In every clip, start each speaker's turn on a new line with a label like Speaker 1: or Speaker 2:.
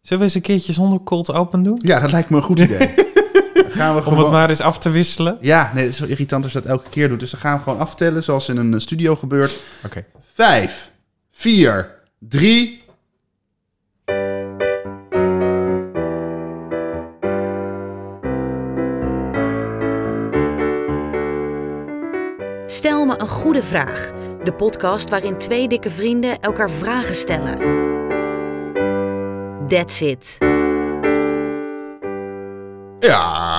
Speaker 1: Zullen we eens een keertje zonder cold open doen?
Speaker 2: Ja, dat lijkt me een goed idee. Dan gaan we
Speaker 1: Om het
Speaker 2: gewoon...
Speaker 1: maar eens af te wisselen.
Speaker 2: Ja, nee, het is zo irritant als je dat elke keer doet. Dus dan gaan we gewoon aftellen, zoals in een eh, studio gebeurt.
Speaker 1: Oké.
Speaker 2: Vijf, vier, drie...
Speaker 3: Stel me een goede vraag. De podcast waarin twee dikke vrienden elkaar vragen stellen. That's it.
Speaker 2: Ja,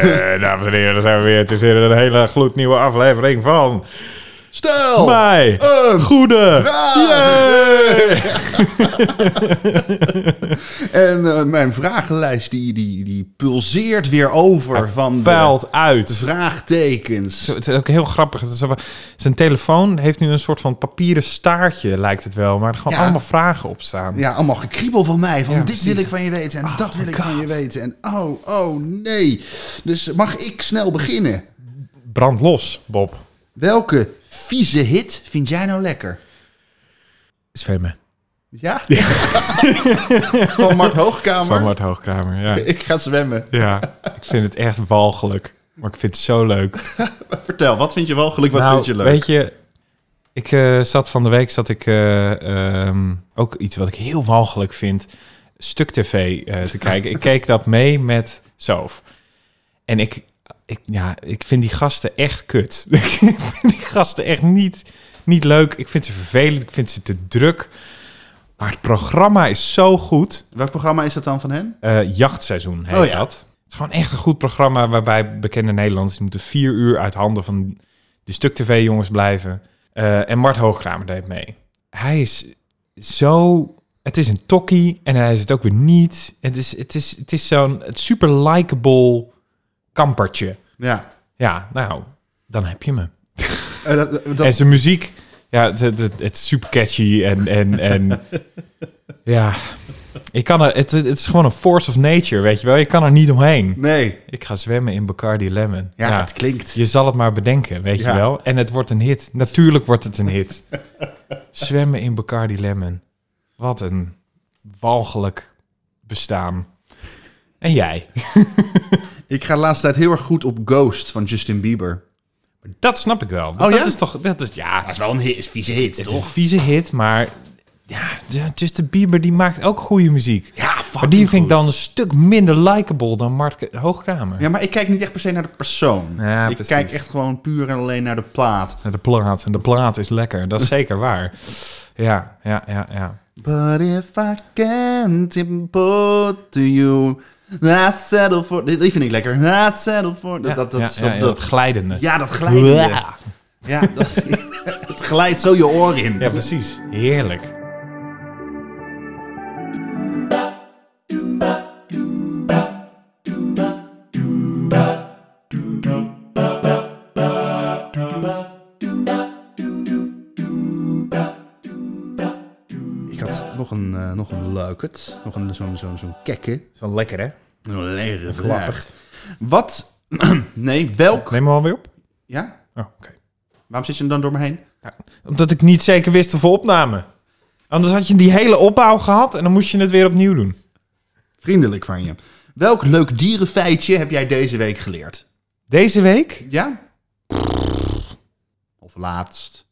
Speaker 1: Eh, dames en heren, dan zijn we weer. Het is weer een hele gloednieuwe aflevering van
Speaker 2: stel
Speaker 1: mij.
Speaker 2: een
Speaker 1: Goede.
Speaker 2: Oh. vraag. en eh, mijn vragenlijst die, die, die pulseert weer over van de
Speaker 1: Pijlt uit.
Speaker 2: vraagtekens.
Speaker 1: Ah, Zo, Het is ook heel grappig. Het is zo- Zijn telefoon heeft nu een soort van papieren staartje, lijkt het wel. Maar er gewoon
Speaker 2: Ja.
Speaker 1: allemaal vragen op staan.
Speaker 2: Ja, allemaal gekriebel van mij. Van
Speaker 1: Ja,
Speaker 2: dit
Speaker 1: precies. Oh
Speaker 2: wil ik van je weten en dat wil ik van je weten. En oh, oh nee. Dus mag ik snel beginnen?
Speaker 1: Brand los, Bob.
Speaker 2: Welke vieze hit vind jij nou lekker?
Speaker 1: Zwemmen.
Speaker 2: Ja? van Mart Hoogkamer.
Speaker 1: Van Mart Hoogkamer, ja.
Speaker 2: Ik ga zwemmen.
Speaker 1: Ja, ik vind het echt walgelijk. Maar ik vind het zo leuk.
Speaker 2: Vertel, wat vind je wel gelukkig, wat
Speaker 1: Nou,
Speaker 2: vind je leuk?
Speaker 1: Weet je, ik eh, zat van de week, zat ik eh, ehm, ook iets wat ik heel walgelijk vind, stuk tv eh, te kijken. Ik keek dat mee met Zoof. En ik, ik, ja, ik vind die gasten echt kut. ik vind die gasten echt niet, niet leuk. Ik vind ze vervelend, ik vind ze te druk. Maar het programma is zo goed.
Speaker 2: Welk programma is dat dan van hen?
Speaker 1: Eh, jachtseizoen heet
Speaker 2: Oh ja.
Speaker 1: dat. Het is gewoon echt een goed programma waarbij bekende Nederlanders... die moeten vier uur uit handen van de stuk tv-jongens blijven. Eh, en Mart Hoogkramer deed mee. Hij is zo... Het is een tokkie en hij is het ook weer niet. Het is, het is, het is zo'n het super likable kampertje.
Speaker 2: Ja.
Speaker 1: Ja, nou, dan heb je me.
Speaker 2: Eh, dat, dat-
Speaker 1: En zijn muziek, ja, het, het, het- het is super catchy en... en, en ja, ik kan er, het, het is gewoon een force of nature, weet je wel. Je kan er niet omheen.
Speaker 2: nee.
Speaker 1: Ik ga zwemmen in Bacardi Lemon.
Speaker 2: Ja,
Speaker 1: Ja,
Speaker 2: het klinkt.
Speaker 1: je zal het maar bedenken, weet
Speaker 2: Ja.
Speaker 1: je wel. En het wordt een hit. Natuurlijk wordt het een hit. zwemmen in Bacardi Lemon. Wat een walgelijk bestaan. En jij?
Speaker 2: Ik ga de laatste tijd heel erg goed op Ghost van Justin Bieber.
Speaker 1: Dat snap ik wel.
Speaker 2: Oh
Speaker 1: dat
Speaker 2: ja?
Speaker 1: is toch... Dat is, ja,
Speaker 2: is wel een hit, is vieze hit,
Speaker 1: Het is een vieze hit, maar ja, de- Justin Bieber die maakt ook goede muziek.
Speaker 2: Ja,
Speaker 1: maar
Speaker 2: fucking
Speaker 1: die vind ik
Speaker 2: goed.
Speaker 1: dan een stuk minder likable dan Mark Hoogkramer.
Speaker 2: Ja, maar ik kijk niet echt per se naar de persoon.
Speaker 1: Ja,
Speaker 2: ik
Speaker 1: precies.
Speaker 2: kijk echt gewoon puur en alleen naar de plaat.
Speaker 1: De plaat, en de plaat is lekker, dat is zeker waar. Ja, ja, ja, ja.
Speaker 2: But if I can't import to you, I settle for... Dit- Die vind ik lekker. I settle for... Dat,
Speaker 1: Ja,
Speaker 2: dat, dat,
Speaker 1: ja,
Speaker 2: dat,
Speaker 1: ja, ja, dat glijdende.
Speaker 2: ja, dat glijdt.
Speaker 1: Ja.
Speaker 2: Ja, dat, het glijdt zo je oor in.
Speaker 1: ja, precies. Heerlijk.
Speaker 2: Ik had nog een, eh, nog een leuket. Nog een, zo'n, zo'n, zo'n kekke.
Speaker 1: Zo lekker, hè?
Speaker 2: Een lege vraag.
Speaker 1: Klappert.
Speaker 2: Wat... nee, welk...
Speaker 1: Neem hem alweer op?
Speaker 2: Ja?
Speaker 1: Oh, oké.
Speaker 2: Waarom zit je hem dan door me heen?
Speaker 1: Omdat ik niet zeker wist of we opnamen. Anders had je die hele opbouw gehad en dan moest je het weer opnieuw doen.
Speaker 2: Vriendelijk van je. Welk leuk dierenfeitje heb jij deze week geleerd?
Speaker 1: Deze week?
Speaker 2: Ja? Of laatst.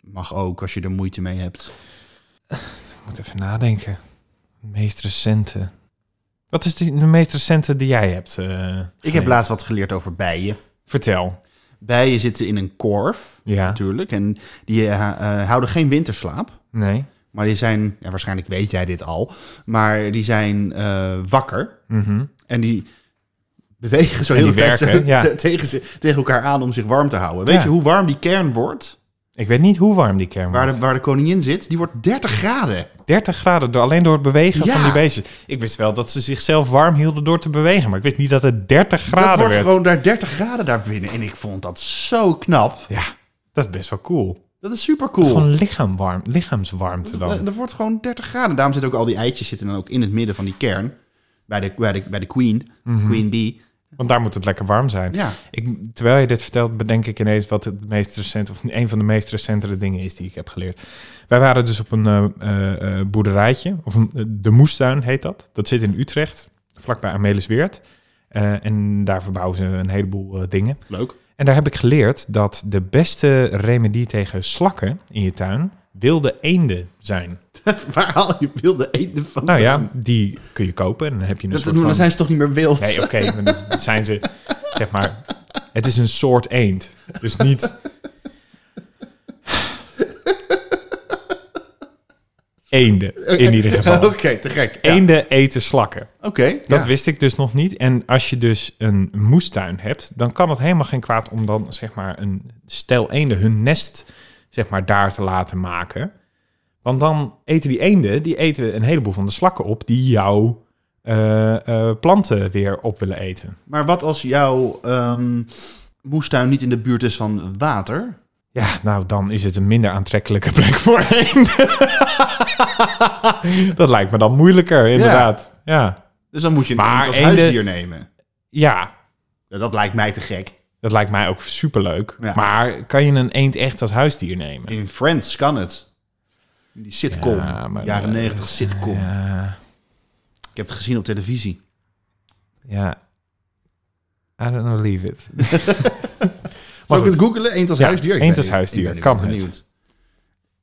Speaker 2: Mag ook als je er moeite mee hebt.
Speaker 1: Ik moet even nadenken. De meest recente. Wat is die, de meest recente die jij hebt? eh,
Speaker 2: Ik heb
Speaker 1: gelezen?
Speaker 2: laatst wat geleerd over bijen.
Speaker 1: Vertel.
Speaker 2: Bijen zitten in een korf,
Speaker 1: Ja.
Speaker 2: natuurlijk. En die eh, eh, houden geen winterslaap.
Speaker 1: Nee.
Speaker 2: Maar die zijn, ja, waarschijnlijk weet jij dit al, maar die zijn eh, wakker.
Speaker 1: Mhm.
Speaker 2: En die bewegen zo
Speaker 1: En
Speaker 2: heel de
Speaker 1: die
Speaker 2: tijd
Speaker 1: werken,
Speaker 2: zo
Speaker 1: ja.
Speaker 2: te- tegen, ze- tegen elkaar aan om zich warm te houden. Weet
Speaker 1: Ja.
Speaker 2: je hoe warm die kern wordt?
Speaker 1: Ik weet niet hoe warm die kern
Speaker 2: Waar
Speaker 1: was.
Speaker 2: de, waar de koningin zit, die wordt 30 graden.
Speaker 1: 30 graden, door, alleen door het bewegen
Speaker 2: Ja.
Speaker 1: van die beestjes. Ik wist wel dat ze zichzelf warm hielden door te bewegen. Maar ik wist niet dat het 30 graden
Speaker 2: dat wordt
Speaker 1: werd.
Speaker 2: gewoon daar 30 graden daar binnen. En ik vond dat zo knap.
Speaker 1: Ja, dat is best wel cool.
Speaker 2: Dat is super
Speaker 1: Het is
Speaker 2: cool.
Speaker 1: gewoon lichaam warm, lichaamswarmte dan.
Speaker 2: Er wordt gewoon 30 graden. Daarom
Speaker 1: Mhm.
Speaker 2: zitten ook al die eitjes zitten dan ook in het midden van die kern. Bij de, bij de, bij de queen, queen bee.
Speaker 1: Want daar moet het lekker warm zijn.
Speaker 2: Ja.
Speaker 1: Ik, terwijl je dit vertelt, bedenk ik ineens wat het meest recente, of een van de meest recentere dingen is die ik heb geleerd. Wij waren dus op een eh, eh, eh, boerderijtje, of een, de moestuin heet dat. Dat zit in Utrecht, vlakbij Amelisweert. Eh en daar verbouwen ze een heleboel eh, dingen.
Speaker 2: Leuk.
Speaker 1: En daar heb ik geleerd dat de beste remedie tegen slakken in je tuin wilde eenden zijn.
Speaker 2: Waar haal je wilde eenden van?
Speaker 1: Nou ja, die kun je kopen en dan heb je een
Speaker 2: Dat,
Speaker 1: soort
Speaker 2: maar dan
Speaker 1: van...
Speaker 2: zijn ze toch niet meer wild?
Speaker 1: Nee, oké, maar dat dat zijn ze, zeg maar... Het is een soort eend, dus niet... Eenden, in ieder
Speaker 2: Oké,
Speaker 1: geval.
Speaker 2: te gek. Ja.
Speaker 1: Eenden eten slakken.
Speaker 2: Oké,
Speaker 1: Dat
Speaker 2: ja.
Speaker 1: wist ik dus nog niet. En als je dus een moestuin hebt, dan kan het helemaal geen kwaad om dan zeg maar een stel eenden hun nest zeg maar daar te laten maken. Want dan eten die eenden, die eten een heleboel van de slakken op die jouw eh, eh, planten weer op willen eten.
Speaker 2: Maar wat als jouw ehm, moestuin niet in de buurt is van water?
Speaker 1: Ja, nou dan is het een minder aantrekkelijke plek voor eenden. Dat lijkt me dan moeilijker, inderdaad. Ja,
Speaker 2: Dus dan moet je een
Speaker 1: Maar
Speaker 2: eend als
Speaker 1: eenden-
Speaker 2: huisdier nemen.
Speaker 1: ja.
Speaker 2: Ja, dat lijkt mij te gek.
Speaker 1: dat lijkt mij ook superleuk.
Speaker 2: Ja.
Speaker 1: Maar kan je een eend echt als huisdier nemen?
Speaker 2: In Friends kan het. Die sitcom.
Speaker 1: Ja, maar-
Speaker 2: jaren negentig sitcom.
Speaker 1: Ja,
Speaker 2: Ik heb het gezien op televisie.
Speaker 1: ja. I don't know, leave it.
Speaker 2: Zal ik
Speaker 1: goed.
Speaker 2: het googelen? Eend als
Speaker 1: Ja,
Speaker 2: huisdier? Ik
Speaker 1: eend
Speaker 2: ben-
Speaker 1: als huisdier,
Speaker 2: ik ben
Speaker 1: kan
Speaker 2: wel
Speaker 1: het.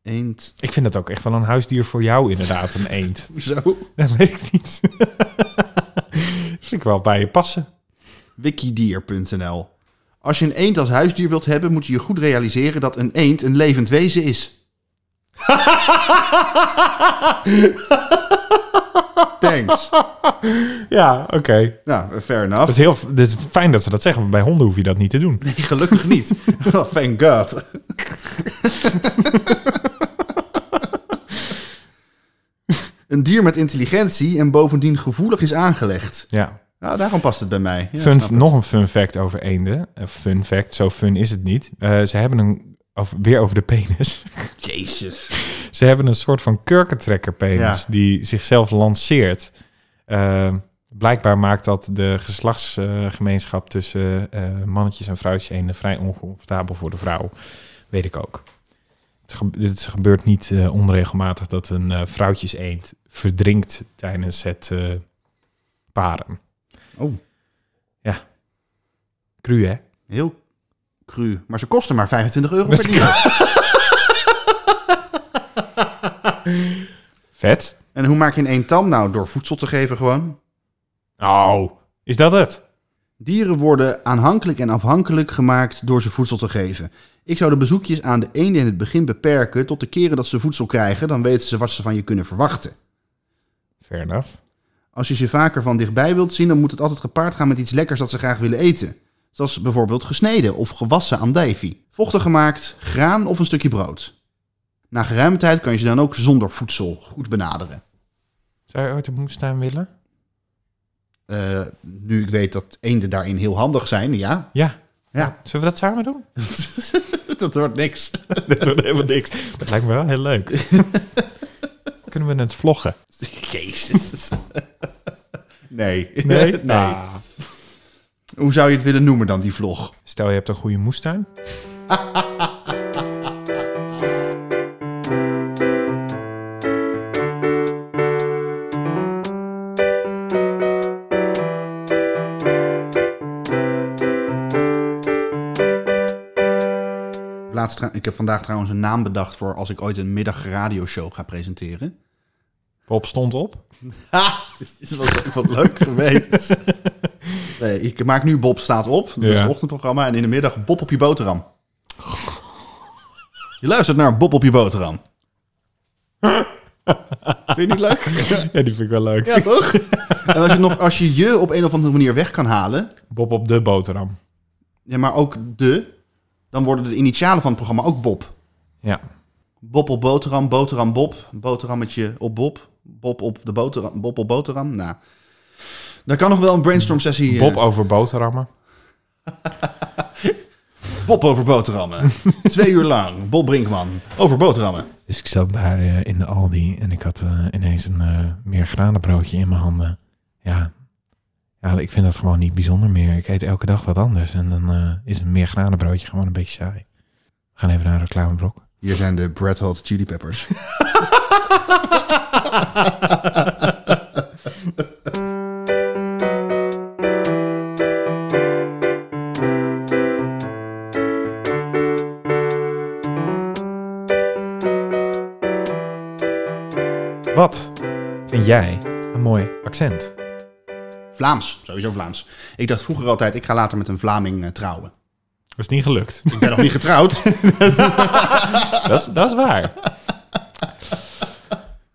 Speaker 2: Eend.
Speaker 1: Ik vind dat ook echt wel een huisdier voor jou inderdaad, een eend.
Speaker 2: Zo.
Speaker 1: Dat weet ik niet. Vind ik wel bij je passen.
Speaker 2: Wikidier.nl Als je een eend als huisdier wilt hebben, moet je je goed realiseren dat een eend een levend wezen is. Thanks.
Speaker 1: Ja, oké.
Speaker 2: Nou, fair
Speaker 1: Dat is
Speaker 2: enough.
Speaker 1: heel dat is fijn dat ze dat zeggen, want bij honden hoef je dat niet te doen.
Speaker 2: Nee, gelukkig niet. Oh, thank God. een dier met intelligentie en bovendien gevoelig is aangelegd.
Speaker 1: Ja.
Speaker 2: Nou, daarom past het bij mij. Ja,
Speaker 1: fun,
Speaker 2: snap ik.
Speaker 1: nog een fun fact over eenden. Eh, Fun fact, zo fun is het niet. Eh, ze hebben een, of weer over de penis.
Speaker 2: Jezus.
Speaker 1: Ze hebben een soort van kurkentrekkerpenis
Speaker 2: Ja.
Speaker 1: die zichzelf lanceert. Eh, blijkbaar maakt dat de geslachtsgemeenschap tussen eh, mannetjes en vrouwtjes eenden vrij oncomfortabel voor de vrouw. Weet ik ook. Het, ge- het gebeurt niet eh, onregelmatig dat een eh, vrouwtjes eend verdrinkt tijdens het eh, paren.
Speaker 2: Oh.
Speaker 1: Ja. Cru, hè?
Speaker 2: Heel cru. Maar ze kosten maar 25 euro
Speaker 1: Best
Speaker 2: per kilo.
Speaker 1: Vet.
Speaker 2: En hoe maak je een eentam? Nou, door voedsel te geven gewoon.
Speaker 1: Oh, is dat het?
Speaker 2: Dieren worden aanhankelijk en afhankelijk gemaakt door ze voedsel te geven. Ik zou de bezoekjes aan de eenden in het begin beperken tot de keren dat ze voedsel krijgen, dan weten ze wat ze van je kunnen verwachten.
Speaker 1: Fair enough.
Speaker 2: Als je ze vaker van dichtbij wilt zien, dan moet het altijd gepaard gaan met iets lekkers dat ze graag willen eten. Zoals bijvoorbeeld gesneden of gewassen andijvie. Vochtig gemaakt, graan of een stukje brood. Na geruime tijd kan je ze dan ook zonder voedsel goed benaderen.
Speaker 1: Zou je ooit een moestuin willen?
Speaker 2: Eh, nu ik weet dat eenden daarin heel handig zijn, ja.
Speaker 1: Ja.
Speaker 2: Ja.
Speaker 1: Zullen we dat samen doen?
Speaker 2: dat wordt niks.
Speaker 1: Dat wordt helemaal niks. Dat lijkt me wel heel leuk. Kunnen we het vloggen?
Speaker 2: Jezus. Nee.
Speaker 1: Nee. Ah.
Speaker 2: Hoe zou je het willen noemen dan, die vlog?
Speaker 1: Stel, je hebt een goede moestuin.
Speaker 2: Laatst, tra- ik heb vandaag trouwens een naam bedacht voor als ik ooit een middagradiorshow ga presenteren.
Speaker 1: Bob stond op.
Speaker 2: Ha, dit is wel, wel leuk geweest. Nee, ik maak nu Bob staat op. Dat is
Speaker 1: Ja.
Speaker 2: het ochtendprogramma. En in de middag Bob op je boterham. Je luistert naar Bob op je boterham. Vind je niet leuk?
Speaker 1: Ja, die vind ik wel leuk.
Speaker 2: Ja, toch? En als je, nog, als je je op een of andere manier weg kan halen...
Speaker 1: Bob op de boterham.
Speaker 2: Ja, maar ook de. Dan worden de initialen van het programma ook Bob.
Speaker 1: Ja.
Speaker 2: Bob op boterham, boterham Bob, boterhammetje op Bob, Bob op de boterham, Bob op boterham. Nou, daar kan nog wel een brainstorm sessie. eh,
Speaker 1: Bob over boterhammen.
Speaker 2: Bob over boterhammen. Twee uur lang. Bob Brinkman over boterhammen.
Speaker 1: Dus ik zat daar eh, in de Aldi en ik had eh, ineens een eh meergranenbroodje in mijn handen. Ja. Ja, ik vind dat gewoon niet bijzonder meer. Ik eet elke dag wat anders. En dan eh, is een meergranenbroodje gewoon een beetje saai. We gaan even naar een reclameblok.
Speaker 2: Hier zijn de Brad Hot Chili Peppers.
Speaker 1: Wat vind jij een mooi accent?
Speaker 2: Vlaams, sowieso Vlaams. Ik dacht vroeger altijd, ik ga later met een Vlaming eh, trouwen.
Speaker 1: Dat is niet gelukt.
Speaker 2: Ik ben nog niet getrouwd.
Speaker 1: dat, is, dat is waar.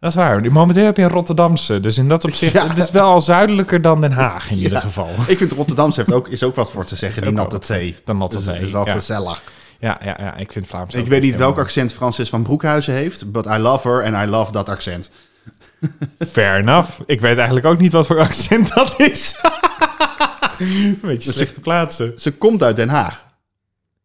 Speaker 1: Dat is waar. Nu, Momenteel heb je een Rotterdamse. Dus in dat opzicht,
Speaker 2: Ja.
Speaker 1: het is wel al zuidelijker dan Den Haag in ieder geval.
Speaker 2: ik vind Rotterdamse heeft ook, is ook wat voor te zeggen,
Speaker 1: Is
Speaker 2: die
Speaker 1: ook
Speaker 2: natte
Speaker 1: wel
Speaker 2: thee.
Speaker 1: Dan natte
Speaker 2: Dus het
Speaker 1: thee,
Speaker 2: is wel
Speaker 1: ja.
Speaker 2: gezellig.
Speaker 1: Ja, ja, ja ik vind Vlaams
Speaker 2: Ik weet niet welk accent Francis van Broekhuizen heeft, but I love her and I love dat accent.
Speaker 1: Fair enough. Ik weet eigenlijk ook niet wat voor accent dat is. Een beetje slecht plaatsen.
Speaker 2: Ze komt uit Den Haag,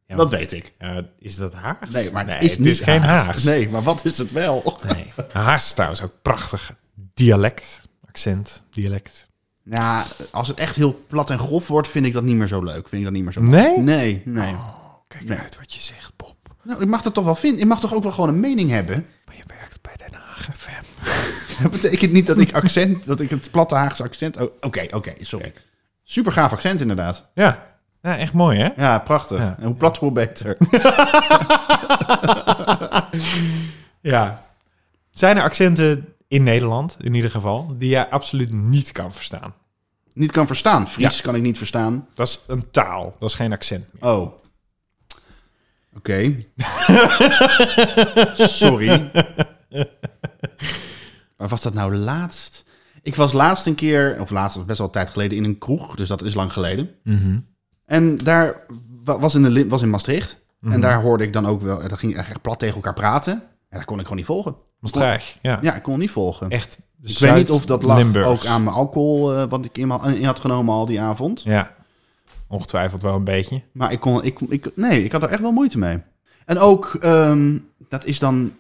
Speaker 1: Ja,
Speaker 2: dat
Speaker 1: maar-
Speaker 2: weet ik.
Speaker 1: Ja, is dat Haag?
Speaker 2: Nee, maar het
Speaker 1: nee,
Speaker 2: is,
Speaker 1: het
Speaker 2: niet
Speaker 1: is geen
Speaker 2: Haags.
Speaker 1: Haag.
Speaker 2: Nee, maar wat is het wel?
Speaker 1: Nee. Haag is trouwens ook prachtig dialect, accent, dialect.
Speaker 2: Nou, als het echt heel plat en grof wordt, vind ik dat niet meer zo leuk. Vind ik dat niet meer zo
Speaker 1: Nee?
Speaker 2: Nee, nee.
Speaker 1: Kijk uit wat je zegt, Bob.
Speaker 2: Nou, ik mag dat toch wel vinden. Ik mag toch ook wel gewoon een mening hebben?
Speaker 1: Maar je werkt bij Den Haag FM.
Speaker 2: Dat betekent niet dat ik accent, dat ik het platte Haagse accent... oh, Oké, oké, sorry. Super gaaf accent inderdaad.
Speaker 1: Ja. ja, echt mooi hè?
Speaker 2: Ja, prachtig.
Speaker 1: Ja.
Speaker 2: En hoe plat, hoe beter.
Speaker 1: Ja. Zijn er accenten in Nederland, in ieder geval, die jij absoluut niet kan verstaan?
Speaker 2: niet kan verstaan. Fries kan ik niet verstaan.
Speaker 1: Dat is een taal, dat is geen accent meer.
Speaker 2: Oh. Oké. Sorry. Waar was dat nou laatst? Ik was laatst een keer, of laatst, dat is best wel een tijd geleden, in een kroeg. Dus dat is lang geleden. En daar wa- was in, de, Lim- was in Maastricht. En daar hoorde ik dan ook wel, dat ging echt echt plat tegen elkaar praten. En dat kon ik gewoon niet volgen.
Speaker 1: Maastricht, ja.
Speaker 2: Ja, ik kon het niet volgen.
Speaker 1: Echt
Speaker 2: ik weet niet of dat lag ook aan mijn alcohol, eh, wat ik in, mijn- in had genomen al die avond.
Speaker 1: Ja, ongetwijfeld wel een beetje.
Speaker 2: Maar ik kon, ik, ik, nee, ik had er echt wel moeite mee. En ook, ehm, dat is dan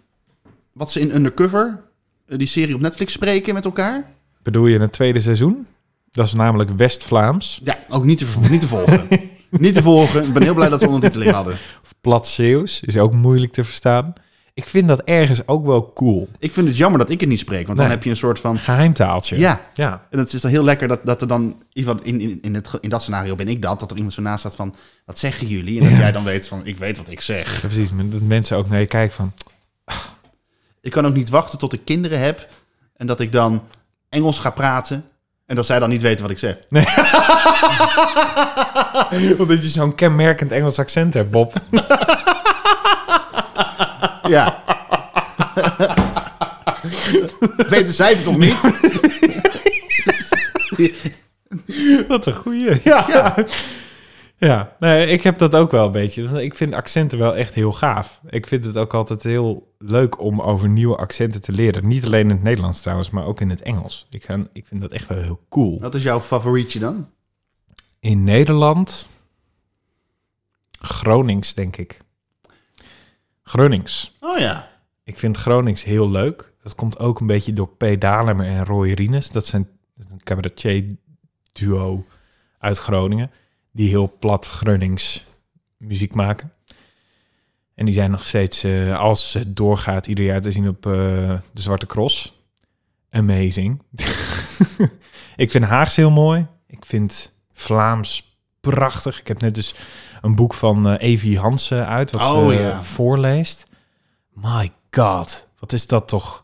Speaker 2: wat ze in Undercover, eh, die serie op Netflix, spreken met elkaar.
Speaker 1: Bedoel je het tweede seizoen? Dat is namelijk West-Vlaams,
Speaker 2: Ja, ook niet te, ver- niet te volgen. niet te volgen. Ik ben heel blij dat we ondertiteling hadden.
Speaker 1: of plat Zeeuws, is ook moeilijk te verstaan. Ik vind dat ergens ook wel cool.
Speaker 2: Ik vind het jammer dat ik het niet spreek, want dan
Speaker 1: Nee.
Speaker 2: heb je een soort van...
Speaker 1: Geheimtaaltje.
Speaker 2: Ja,
Speaker 1: Ja.
Speaker 2: en het is dan heel lekker dat, dat er dan iemand in, in, in, het, ge- in dat scenario ben ik dat, dat er iemand zo naast staat van, wat zeggen jullie? En dat jij dan weet van, ik weet wat ik zeg.
Speaker 1: Ja, precies. maar Dat mensen ook naar je kijken van...
Speaker 2: Ik kan ook niet wachten tot ik kinderen heb en dat ik dan Engels ga praten en dat zij dan niet weten wat ik zeg.
Speaker 1: "Oh, Omdat je zo'n kenmerkend Engels accent hebt, Bob.
Speaker 2: Ja. Weten zij het toch niet?
Speaker 1: Wat een goeie. Ja. ja. nee, ik heb dat ook wel een beetje. Want Ik vind accenten wel echt heel gaaf. Ik vind het ook altijd heel leuk om over nieuwe accenten te leren. Niet alleen in het Nederlands trouwens, maar ook in het Engels. Ik, ga, ik vind dat echt wel heel cool.
Speaker 2: Wat is jouw favorietje dan?
Speaker 1: In Nederland... Gronings, denk ik. Gronings.
Speaker 2: Oh ja.
Speaker 1: Ik vind Gronings heel leuk. Dat komt ook een beetje door P. Dalemer en Roy Rines. Dat zijn een cabaretier-duo uit Groningen. Die heel plat Gronings muziek maken. En die zijn nog steeds, eh, als het doorgaat, ieder jaar te zien op eh, de Zwarte Cross. Amazing. ik vind Haags heel mooi. Ik vind Vlaams prachtig. Ik heb net dus een boek van eh, Evi Hansen uit, wat
Speaker 2: Oh,
Speaker 1: ze eh,
Speaker 2: ja.
Speaker 1: voorleest. My god, wat is dat toch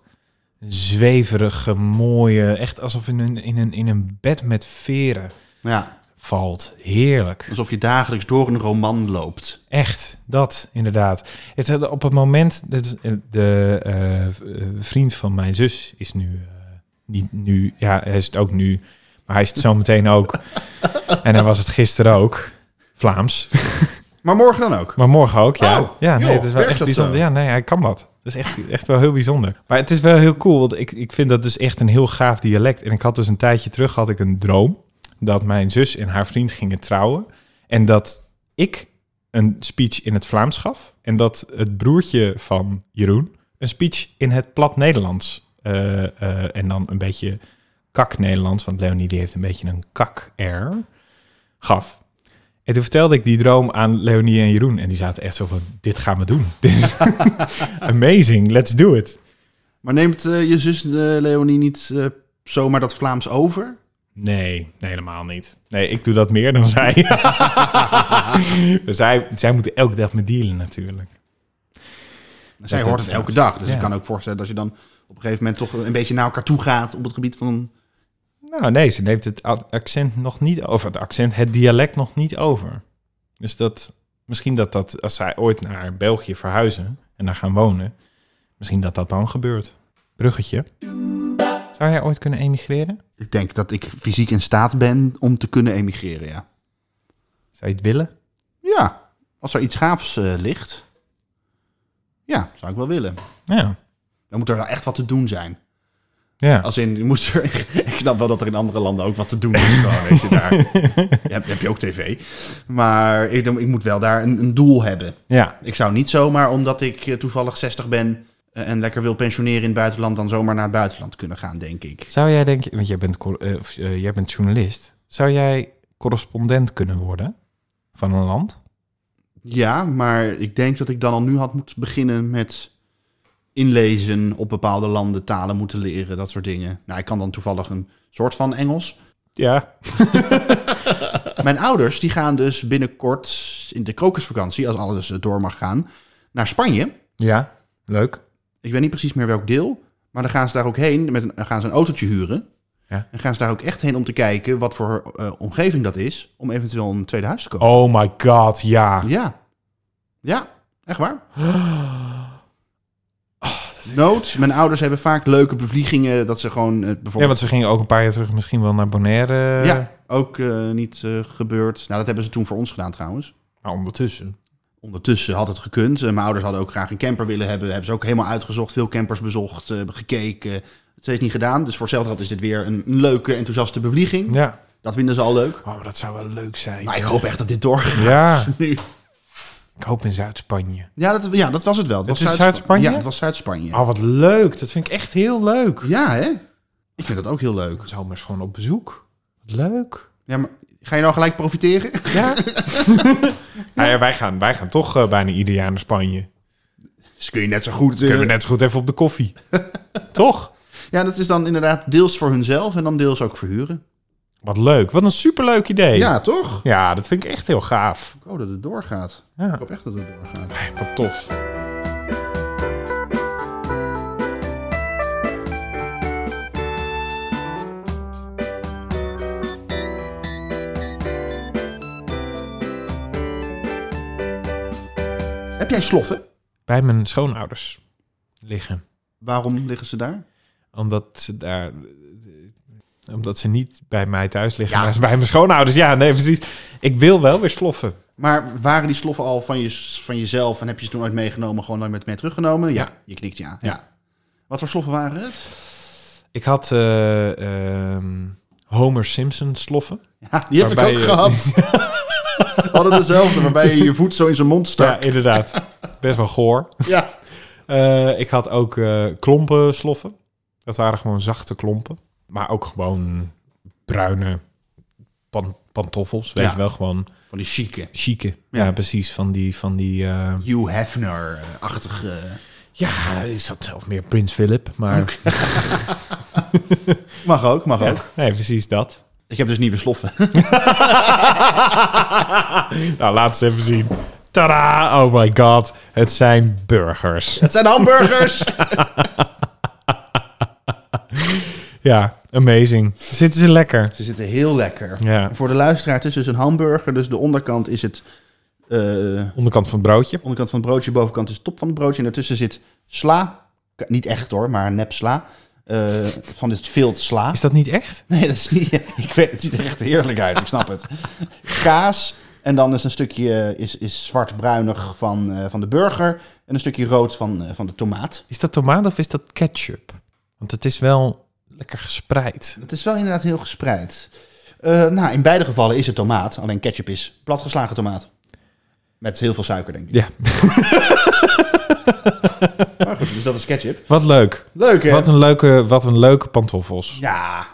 Speaker 1: een zweverige, mooie. Echt alsof in een, in een, in een bed met veren
Speaker 2: Ja,
Speaker 1: valt. Heerlijk.
Speaker 2: alsof je dagelijks door een roman loopt.
Speaker 1: Echt, dat inderdaad. Het, had op het moment, dat- de eh, v- eh, vriend van mijn zus is nu, eh, niet nu, ja, hij is het ook nu, maar hij is het zometeen ook. en hij was het gisteren ook, Vlaams.
Speaker 2: Maar morgen dan ook.
Speaker 1: Maar morgen ook, ja.
Speaker 2: Oh,
Speaker 1: ja, nee,
Speaker 2: joh,
Speaker 1: het is wel
Speaker 2: werkt
Speaker 1: echt
Speaker 2: dat
Speaker 1: bijzonder.
Speaker 2: zo?
Speaker 1: Ja, nee, hij kan dat. Dat is echt, echt wel heel bijzonder. Maar het is wel heel cool, want ik, ik vind dat dus echt een heel gaaf dialect. En ik had dus een tijdje terug had ik een droom dat mijn zus en haar vriend gingen trouwen. En dat ik een speech in het Vlaams gaf. En dat het broertje van Jeroen een speech in het plat Nederlands. eh, eh, en dan een beetje kak-Nederlands, want Leonie die heeft een beetje een kak-air, gaf. En toen vertelde ik die droom aan Leonie en Jeroen. En die zaten echt zo van, dit gaan we doen. Dit is Amazing, let's do it.
Speaker 2: Maar neemt eh, je zus eh, Leonie niet eh, zomaar dat Vlaams over?
Speaker 1: Nee, nee, helemaal niet. Nee, ik doe dat meer dan zij. Maar zij, zij moeten elke dag me dealen natuurlijk.
Speaker 2: Zij
Speaker 1: dat
Speaker 2: hoort
Speaker 1: is
Speaker 2: het elke
Speaker 1: zo.
Speaker 2: dag. Dus
Speaker 1: Ja.
Speaker 2: ik kan ook voorstellen dat je dan op een gegeven moment toch een beetje naar elkaar toe gaat op het gebied van...
Speaker 1: Nou nee, ze neemt het a- accent nog niet over. Het accent, het dialect nog niet over. Dus dat, misschien dat dat, als zij ooit naar België verhuizen en daar gaan wonen, misschien dat dat dan gebeurt. Bruggetje. Zou jij ooit kunnen emigreren?
Speaker 2: Ik denk dat ik fysiek in staat ben om te kunnen emigreren, ja.
Speaker 1: Zou je het willen?
Speaker 2: Ja, als er iets gaafs eh, ligt. Ja, zou ik wel willen.
Speaker 1: Ja.
Speaker 2: Dan moet er wel echt wat te doen zijn.
Speaker 1: Ja.
Speaker 2: Als in, je moet er, ik snap wel dat er in andere landen ook wat te doen is. Gewoon, weet je, daar Ja, heb, heb je ook tv. Maar ik, ik moet wel daar een, een doel hebben.
Speaker 1: ja.
Speaker 2: Ik zou niet zomaar, omdat ik eh, toevallig 60 ben eh, en lekker wil pensioneren in het buitenland, dan zomaar naar het buitenland kunnen gaan, denk ik.
Speaker 1: Zou jij denken, want jij bent, cor- eh, of, eh, jij bent journalist, zou jij correspondent kunnen worden van een land?
Speaker 2: Ja, maar ik denk dat ik dan al nu had moeten beginnen met inlezen op bepaalde landen, talen moeten leren, dat soort dingen. Nou, ik kan dan toevallig een soort van Engels.
Speaker 1: Ja.
Speaker 2: Mijn ouders die gaan dus binnenkort in de krokusvakantie, als alles eh, door mag gaan, naar Spanje.
Speaker 1: Ja, leuk.
Speaker 2: ik weet niet precies meer welk deel. Maar dan gaan ze daar ook heen, met een, dan gaan ze een autootje huren.
Speaker 1: Ja.
Speaker 2: En gaan ze daar ook echt heen om te kijken wat voor eh, omgeving dat is. Om eventueel een tweede huis te kopen.
Speaker 1: Oh my god, ja.
Speaker 2: Ja. Ja, echt waar. Nood. Mijn ouders hebben vaak leuke bevliegingen. Dat ze gewoon eh,
Speaker 1: Ja,
Speaker 2: bijvoorbeeld...
Speaker 1: want ze gingen ook een paar jaar terug misschien wel naar Bonaire.
Speaker 2: Ja, ook eh, niet eh, gebeurd. Nou, dat hebben ze toen voor ons gedaan trouwens.
Speaker 1: Maar ondertussen.
Speaker 2: Ondertussen had het gekund. Eh, Mijn ouders hadden ook graag een camper willen hebben. Hebben ze ook helemaal uitgezocht. Veel campers bezocht, eh, gekeken. Het steeds niet gedaan. Dus voor hetzelfde geld is dit weer een een leuke, enthousiaste bevlieging.
Speaker 1: Ja.
Speaker 2: Dat vinden ze al leuk.
Speaker 1: Oh, maar dat zou wel leuk zijn.
Speaker 2: Maar ik hoop echt dat dit doorgaat
Speaker 1: Ja.
Speaker 2: nu.
Speaker 1: Ik hoop in Zuid-Spanje.
Speaker 2: Ja dat, ja, dat was het wel. Het,
Speaker 1: Het
Speaker 2: was
Speaker 1: is
Speaker 2: Zuid-
Speaker 1: Zuid-Spanje?
Speaker 2: Ja, het was Zuid-Spanje.
Speaker 1: Oh, wat leuk. Dat vind ik echt heel leuk.
Speaker 2: Ja, hè? Ik vind dat ook heel leuk.
Speaker 1: Zomers gewoon op bezoek. Wat leuk.
Speaker 2: Ja, maar ga je nou gelijk profiteren?
Speaker 1: Ja. Nou ja, wij, gaan, wij gaan toch eh, bijna ieder jaar naar Spanje.
Speaker 2: Dus kun je net zo goed... eh,
Speaker 1: Kunnen we net zo goed even op de koffie. toch?
Speaker 2: Ja, dat is dan inderdaad deels voor hunzelf en dan deels ook verhuren.
Speaker 1: Wat leuk. Wat een superleuk idee.
Speaker 2: Ja, toch?
Speaker 1: Ja, dat vind ik echt heel gaaf.
Speaker 2: Ik hoop dat het doorgaat. Ik
Speaker 1: Ja.
Speaker 2: hoop echt dat het doorgaat.
Speaker 1: Wat tof.
Speaker 2: Heb jij sloffen?
Speaker 1: Bij mijn schoonouders liggen.
Speaker 2: Waarom liggen ze daar?
Speaker 1: Omdat ze daar. Omdat ze niet bij mij thuis liggen, maar bij mijn schoonouders. Ja, nee, precies. Ik wil wel weer sloffen.
Speaker 2: Maar waren die sloffen al van, je, van jezelf en heb je ze toen ooit meegenomen, gewoon nooit met mee teruggenomen? Ja, je knikt ja. ja. Wat voor sloffen waren het?
Speaker 1: Ik had eh, ehm, Homer Simpson sloffen.
Speaker 2: Ja, die heb
Speaker 1: Waarbij
Speaker 2: ik ook
Speaker 1: je-
Speaker 2: gehad. We hadden dezelfde, waarbij je je voet zo in zijn mond
Speaker 1: Ja,
Speaker 2: stak.
Speaker 1: inderdaad. Best wel goor.
Speaker 2: Ja.
Speaker 1: Eh, ik had ook eh, klompen sloffen. Dat waren gewoon zachte klompen. Maar ook gewoon bruine pan- pantoffels. Weet
Speaker 2: Ja.
Speaker 1: je wel, gewoon
Speaker 2: Van die chique.
Speaker 1: chique. Ja,
Speaker 2: Ja.
Speaker 1: precies. Van die. Van die eh,
Speaker 2: Hugh Hefner-achtige... eh,
Speaker 1: ja, is dat zelf meer Prins Philip. Maar
Speaker 2: Mag ook, mag
Speaker 1: Ja,
Speaker 2: ook.
Speaker 1: nee, precies dat.
Speaker 2: Ik heb dus nieuwe sloffen.
Speaker 1: nou, laat ze even zien. Tada! Oh my god. Het zijn burgers.
Speaker 2: Het zijn hamburgers!
Speaker 1: Ja, amazing. Zitten ze lekker?
Speaker 2: Ze zitten heel lekker.
Speaker 1: Ja.
Speaker 2: En Voor de luisteraar, het is dus een hamburger, dus de onderkant is het... eh,
Speaker 1: Onderkant van het broodje.
Speaker 2: onderkant van het broodje, bovenkant is de top van het broodje. En daartussen zit sla. K- Niet echt hoor, maar nep sla. Eh, van dit vilt sla.
Speaker 1: Is dat niet echt?
Speaker 2: Nee, dat is niet. Ik weet, het ziet er echt heerlijk uit, ik snap het. Kaas. En dan is een stukje eh, is, is zwart-bruinig van, eh, van de burger. En een stukje rood van, eh, van de tomaat.
Speaker 1: Is dat tomaat of is dat ketchup? Want het is wel lekker gespreid.
Speaker 2: Het is wel inderdaad heel gespreid. Eh, nou, in beide gevallen is het tomaat. Alleen ketchup is platgeslagen tomaat. Met heel veel suiker, denk ik.
Speaker 1: Ja,
Speaker 2: Maar goed, dus dat is ketchup.
Speaker 1: wat leuk.
Speaker 2: Leuk, hè?
Speaker 1: Wat een leuke, wat een leuke pantoffels.
Speaker 2: Ja.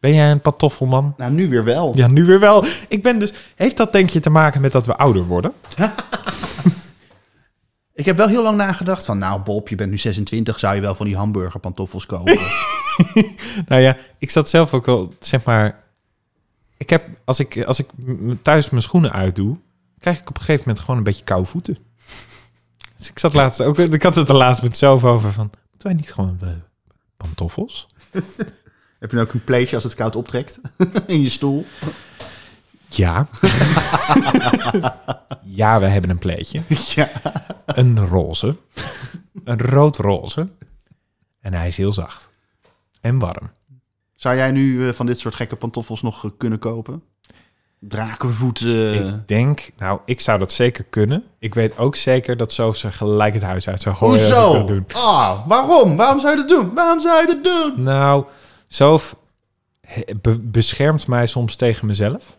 Speaker 1: Ben jij een pantoffelman?
Speaker 2: Nou, nu weer wel.
Speaker 1: Ja, nu weer wel. Ik ben dus... Heeft dat denk je te maken met dat we ouder worden?
Speaker 2: Ik heb wel heel lang nagedacht van, nou Bob, je bent nu 26, zou je wel van die hamburger pantoffels kopen?
Speaker 1: Nou ja, ik zat zelf ook wel, zeg maar... Ik heb, als ik, als ik m- m- thuis mijn schoenen uitdoe... krijg ik op een gegeven moment gewoon een beetje koude voeten. Dus ik zat laatst ook... Ik had het er laatst met zelf over van... Moeten wij niet gewoon eh, pantoffels?
Speaker 2: heb je nou ook een pleetje als het koud optrekt in je stoel?
Speaker 1: Ja. ja, we hebben een pleetje.
Speaker 2: ja.
Speaker 1: Een roze. Een rood-roze. En hij is heel zacht. En warm.
Speaker 2: Zou jij nu eh, van dit soort gekke pantoffels nog eh, kunnen kopen? Drakenvoeten.
Speaker 1: Ik denk, nou, ik zou dat zeker kunnen. Ik weet ook zeker dat Sof ze gelijk het huis uit zou gooien. als ik
Speaker 2: Hoezo?
Speaker 1: dat doen.
Speaker 2: Ah, waarom? Waarom zou je dat doen? Waarom zou je dat doen?
Speaker 1: Nou, Sof he- be- beschermt mij soms tegen mezelf.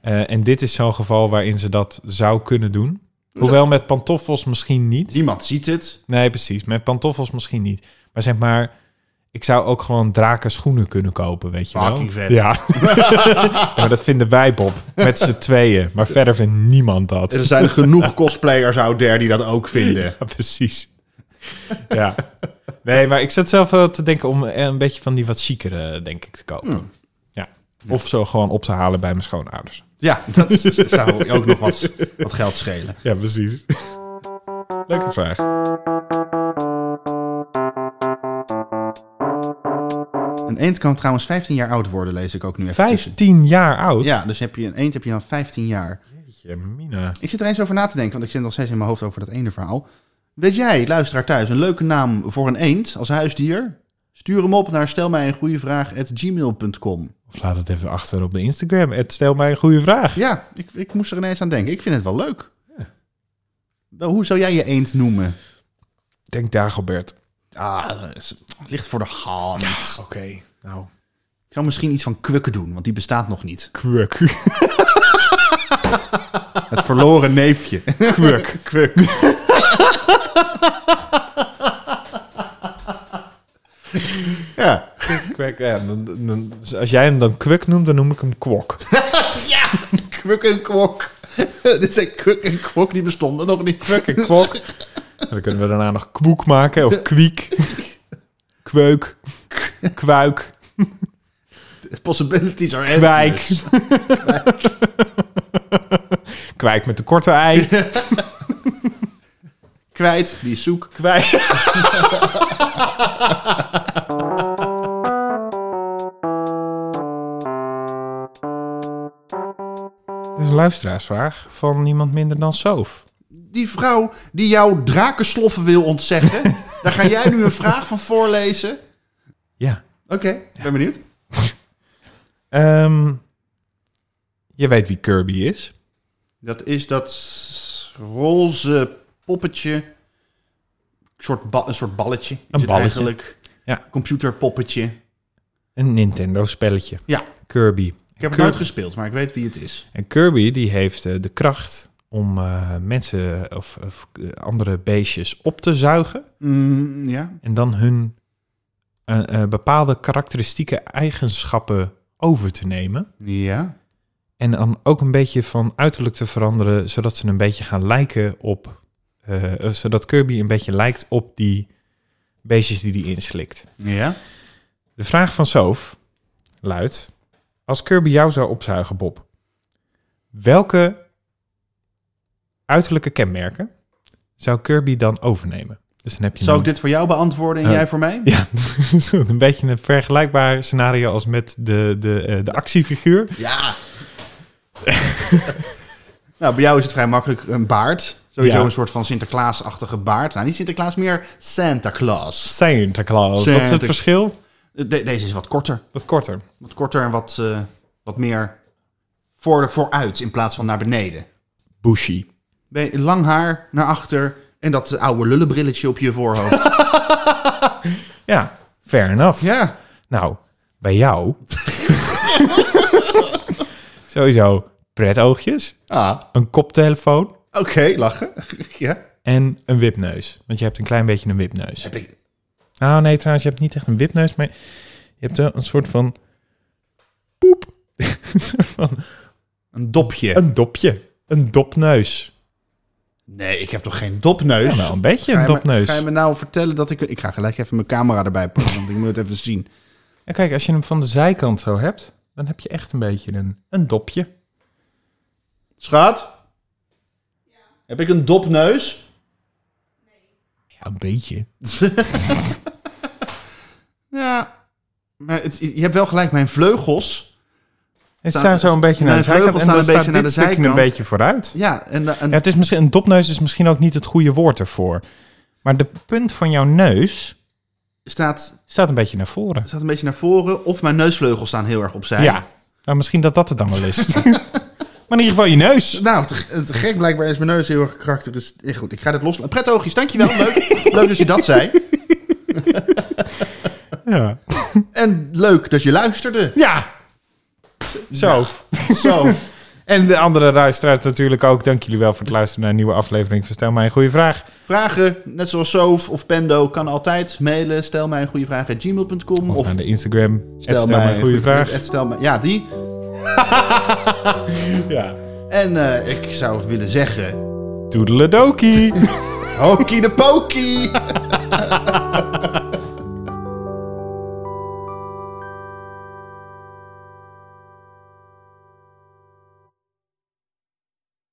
Speaker 1: Eh, en dit is zo'n geval waarin ze dat zou kunnen doen. Hoewel met pantoffels misschien niet.
Speaker 2: Niemand ziet het.
Speaker 1: Nee, precies. Met pantoffels misschien niet. Maar zeg maar, ik zou ook gewoon draken schoenen kunnen kopen, weet je wel.
Speaker 2: Fucking vet.
Speaker 1: Ja. Ja, maar dat vinden wij, Bob. Met z'n tweeën. Maar verder vindt niemand dat.
Speaker 2: Er zijn genoeg cosplayers out there die dat ook vinden.
Speaker 1: Ja, precies. ja. Nee, maar ik zat zelf wel te denken om eh, een beetje van die wat chicere, denk ik, te kopen.
Speaker 2: Hmm.
Speaker 1: Ja. Of zo gewoon op te halen bij mijn schoonouders.
Speaker 2: Ja, dat zou ook nog wat, wat geld schelen.
Speaker 1: Ja, precies. Leuke vraag.
Speaker 2: Een eend kan trouwens 15 jaar oud worden, lees ik ook nu even. tussen.
Speaker 1: 15 jaar oud?
Speaker 2: Ja, dus heb je een eend heb je dan 15 jaar.
Speaker 1: Jeetje, Mina.
Speaker 2: Ik zit er eens over na te denken, want ik zit nog steeds in mijn hoofd over dat ene verhaal. Weet jij, luisteraar thuis, een leuke naam voor een eend als huisdier? Stuur hem op naar stelmijengoeievraag.gmail.com.
Speaker 1: Of laat het even achter op de Instagram. Ed, stel mij een goede vraag.
Speaker 2: Ja, ik, ik moest er ineens aan denken. Ik vind het wel leuk. Wel, hoe zou jij je eend noemen?
Speaker 1: Denk Dagobert.
Speaker 2: Ah, dat is- ligt voor de hand.
Speaker 1: Oké, nou.
Speaker 2: Ik zou misschien iets van kwekken doen, want die bestaat nog niet.
Speaker 1: Kwuk.
Speaker 2: Het verloren neefje.
Speaker 1: Kwuk.
Speaker 2: Kwek. ja.
Speaker 1: Kwek. Ja, dan, dan- dus als jij hem dan kwuk noemt, dan noem ik hem kwok.
Speaker 2: Ja, kwek en kwok. Dit zijn kwek en kwok, die bestonden nog niet.
Speaker 1: Kwuk en kwok. En dan kunnen we daarna nog kwoek maken. Of kwiek. Kweuk. Kwuik.
Speaker 2: Possibilities are
Speaker 1: Kwijk.
Speaker 2: endless.
Speaker 1: Kwijk met een korte ei.
Speaker 2: Kwijt, die is zoek.
Speaker 1: Kwijk. Dit is een luisteraarsvraag van niemand minder dan Soof.
Speaker 2: Die vrouw die jouw drakensloffen wil ontzeggen, daar ga jij nu een vraag van voorlezen.
Speaker 1: Ja.
Speaker 2: Oké, ben benieuwd.
Speaker 1: Ehm, je weet wie Kirby is.
Speaker 2: Dat is dat roze poppetje. Een soort, ba- een soort balletje. Is
Speaker 1: Een
Speaker 2: het
Speaker 1: balletje.
Speaker 2: Eigenlijk.
Speaker 1: Ja.
Speaker 2: Computerpoppetje.
Speaker 1: Een Nintendo-spelletje.
Speaker 2: Ja, ik heb
Speaker 1: Kirby.
Speaker 2: het nooit gespeeld, maar ik weet wie het is.
Speaker 1: En Kirby die heeft eh, de kracht om eh, mensen of, of, eh, andere beestjes op te zuigen
Speaker 2: Mm, ja.
Speaker 1: en dan hun eh, eh, bepaalde karakteristieke eigenschappen over te nemen.
Speaker 2: Ja.
Speaker 1: En dan ook een beetje van uiterlijk te veranderen, zodat ze een beetje gaan lijken op. eh, eh, zodat Kirby een beetje lijkt op die beestjes die hij inslikt.
Speaker 2: Ja.
Speaker 1: De vraag van Soof luidt: Als Kirby jou zou opzuigen, Bob, welke uiterlijke kenmerken zou Kirby dan overnemen? Dus dan heb je
Speaker 2: Zou ik
Speaker 1: een-
Speaker 2: dit voor jou beantwoorden en
Speaker 1: Eh.
Speaker 2: jij voor mij?
Speaker 1: Ja, zo een beetje een vergelijkbaar scenario als met de, de, eh, de actiefiguur.
Speaker 2: Ja. nou, bij jou is het vrij makkelijk een baard. Sowieso
Speaker 1: Ja.
Speaker 2: een soort van Sinterklaasachtige baard. Nou, niet Sinterklaas, meer Santa Claus.
Speaker 1: Santa Claus. Wat is het
Speaker 2: Santa-
Speaker 1: verschil?
Speaker 2: De- deze is wat korter.
Speaker 1: Wat korter.
Speaker 2: Wat korter en wat, eh, wat meer voor, vooruit in plaats van naar beneden.
Speaker 1: Bushy.
Speaker 2: Ben je- Lang haar naar achter en dat eh, oude lullenbrilletje op je voorhoofd.
Speaker 1: Ja, fair enough.
Speaker 2: ja.
Speaker 1: Nou, bij jou. Sowieso pretoogjes,
Speaker 2: Ah,
Speaker 1: een koptelefoon.
Speaker 2: oké, lachen. ja.
Speaker 1: En een wipneus. Want je hebt een klein beetje een wipneus. Ah,
Speaker 2: Heb ik...
Speaker 1: Nou, nee, trouwens, je hebt niet echt een wipneus, maar je hebt wel een soort van Een soort van,
Speaker 2: Een dopje.
Speaker 1: een dopje. Een dopneus.
Speaker 2: Nee, ik heb toch geen dopneus?
Speaker 1: Ja, nou, een beetje
Speaker 2: Ga
Speaker 1: een
Speaker 2: je me-
Speaker 1: dopneus.
Speaker 2: Ga je me nou vertellen dat ik... Ik ga gelijk even mijn camera erbij pakken, want ik moet het even zien.
Speaker 1: En kijk, als je hem van de zijkant zo hebt, dan heb je echt een beetje een, een dopje.
Speaker 2: Schat? Heb ik een dopneus?
Speaker 1: Ja, een beetje.
Speaker 2: ja. Maar het- je hebt wel gelijk, mijn vleugels...
Speaker 1: Het
Speaker 2: Staan-
Speaker 1: staan zo een beetje naar de
Speaker 2: mijn
Speaker 1: zijkant
Speaker 2: vleugels
Speaker 1: en dan
Speaker 2: staan een
Speaker 1: staat dit
Speaker 2: beetje naar de
Speaker 1: stukje een
Speaker 2: zijkant.
Speaker 1: beetje vooruit.
Speaker 2: Ja, en, da- en
Speaker 1: Ja, het is misschien, een dopneus is misschien ook niet het goede woord ervoor. Maar de punt van jouw neus
Speaker 2: staat,
Speaker 1: staat een beetje naar voren.
Speaker 2: staat een beetje naar voren. Of mijn neusvleugels staan heel erg opzij.
Speaker 1: Ja, nou, misschien dat dat het dan wel is. maar in ieder geval je neus.
Speaker 2: Nou, te, te gek blijkbaar is mijn neus heel erg karakteristisch. Eh, Goed, ik ga dit loslaten. Pret oogjes, dankjewel. Leuk, leuk dat je dat zei.
Speaker 1: Ja.
Speaker 2: En leuk dat je luisterde.
Speaker 1: ja. Zo.
Speaker 2: Zo.
Speaker 1: En de andere luisteraars natuurlijk ook. Dank jullie wel voor het luisteren naar een nieuwe aflevering van Stel mij een goede vraag.
Speaker 2: Vragen, net zoals Soof of Pendo, kan altijd mailen. Stel mij een goede vraag at gmail.com.
Speaker 1: Of,
Speaker 2: Of
Speaker 1: naar de Instagram. Stel, mij een goede vraag.
Speaker 2: het stel mij, ja, die.
Speaker 1: Ja.
Speaker 2: En eh, ik zou willen zeggen...
Speaker 1: Toedeledokie.
Speaker 2: Hokie de pokie!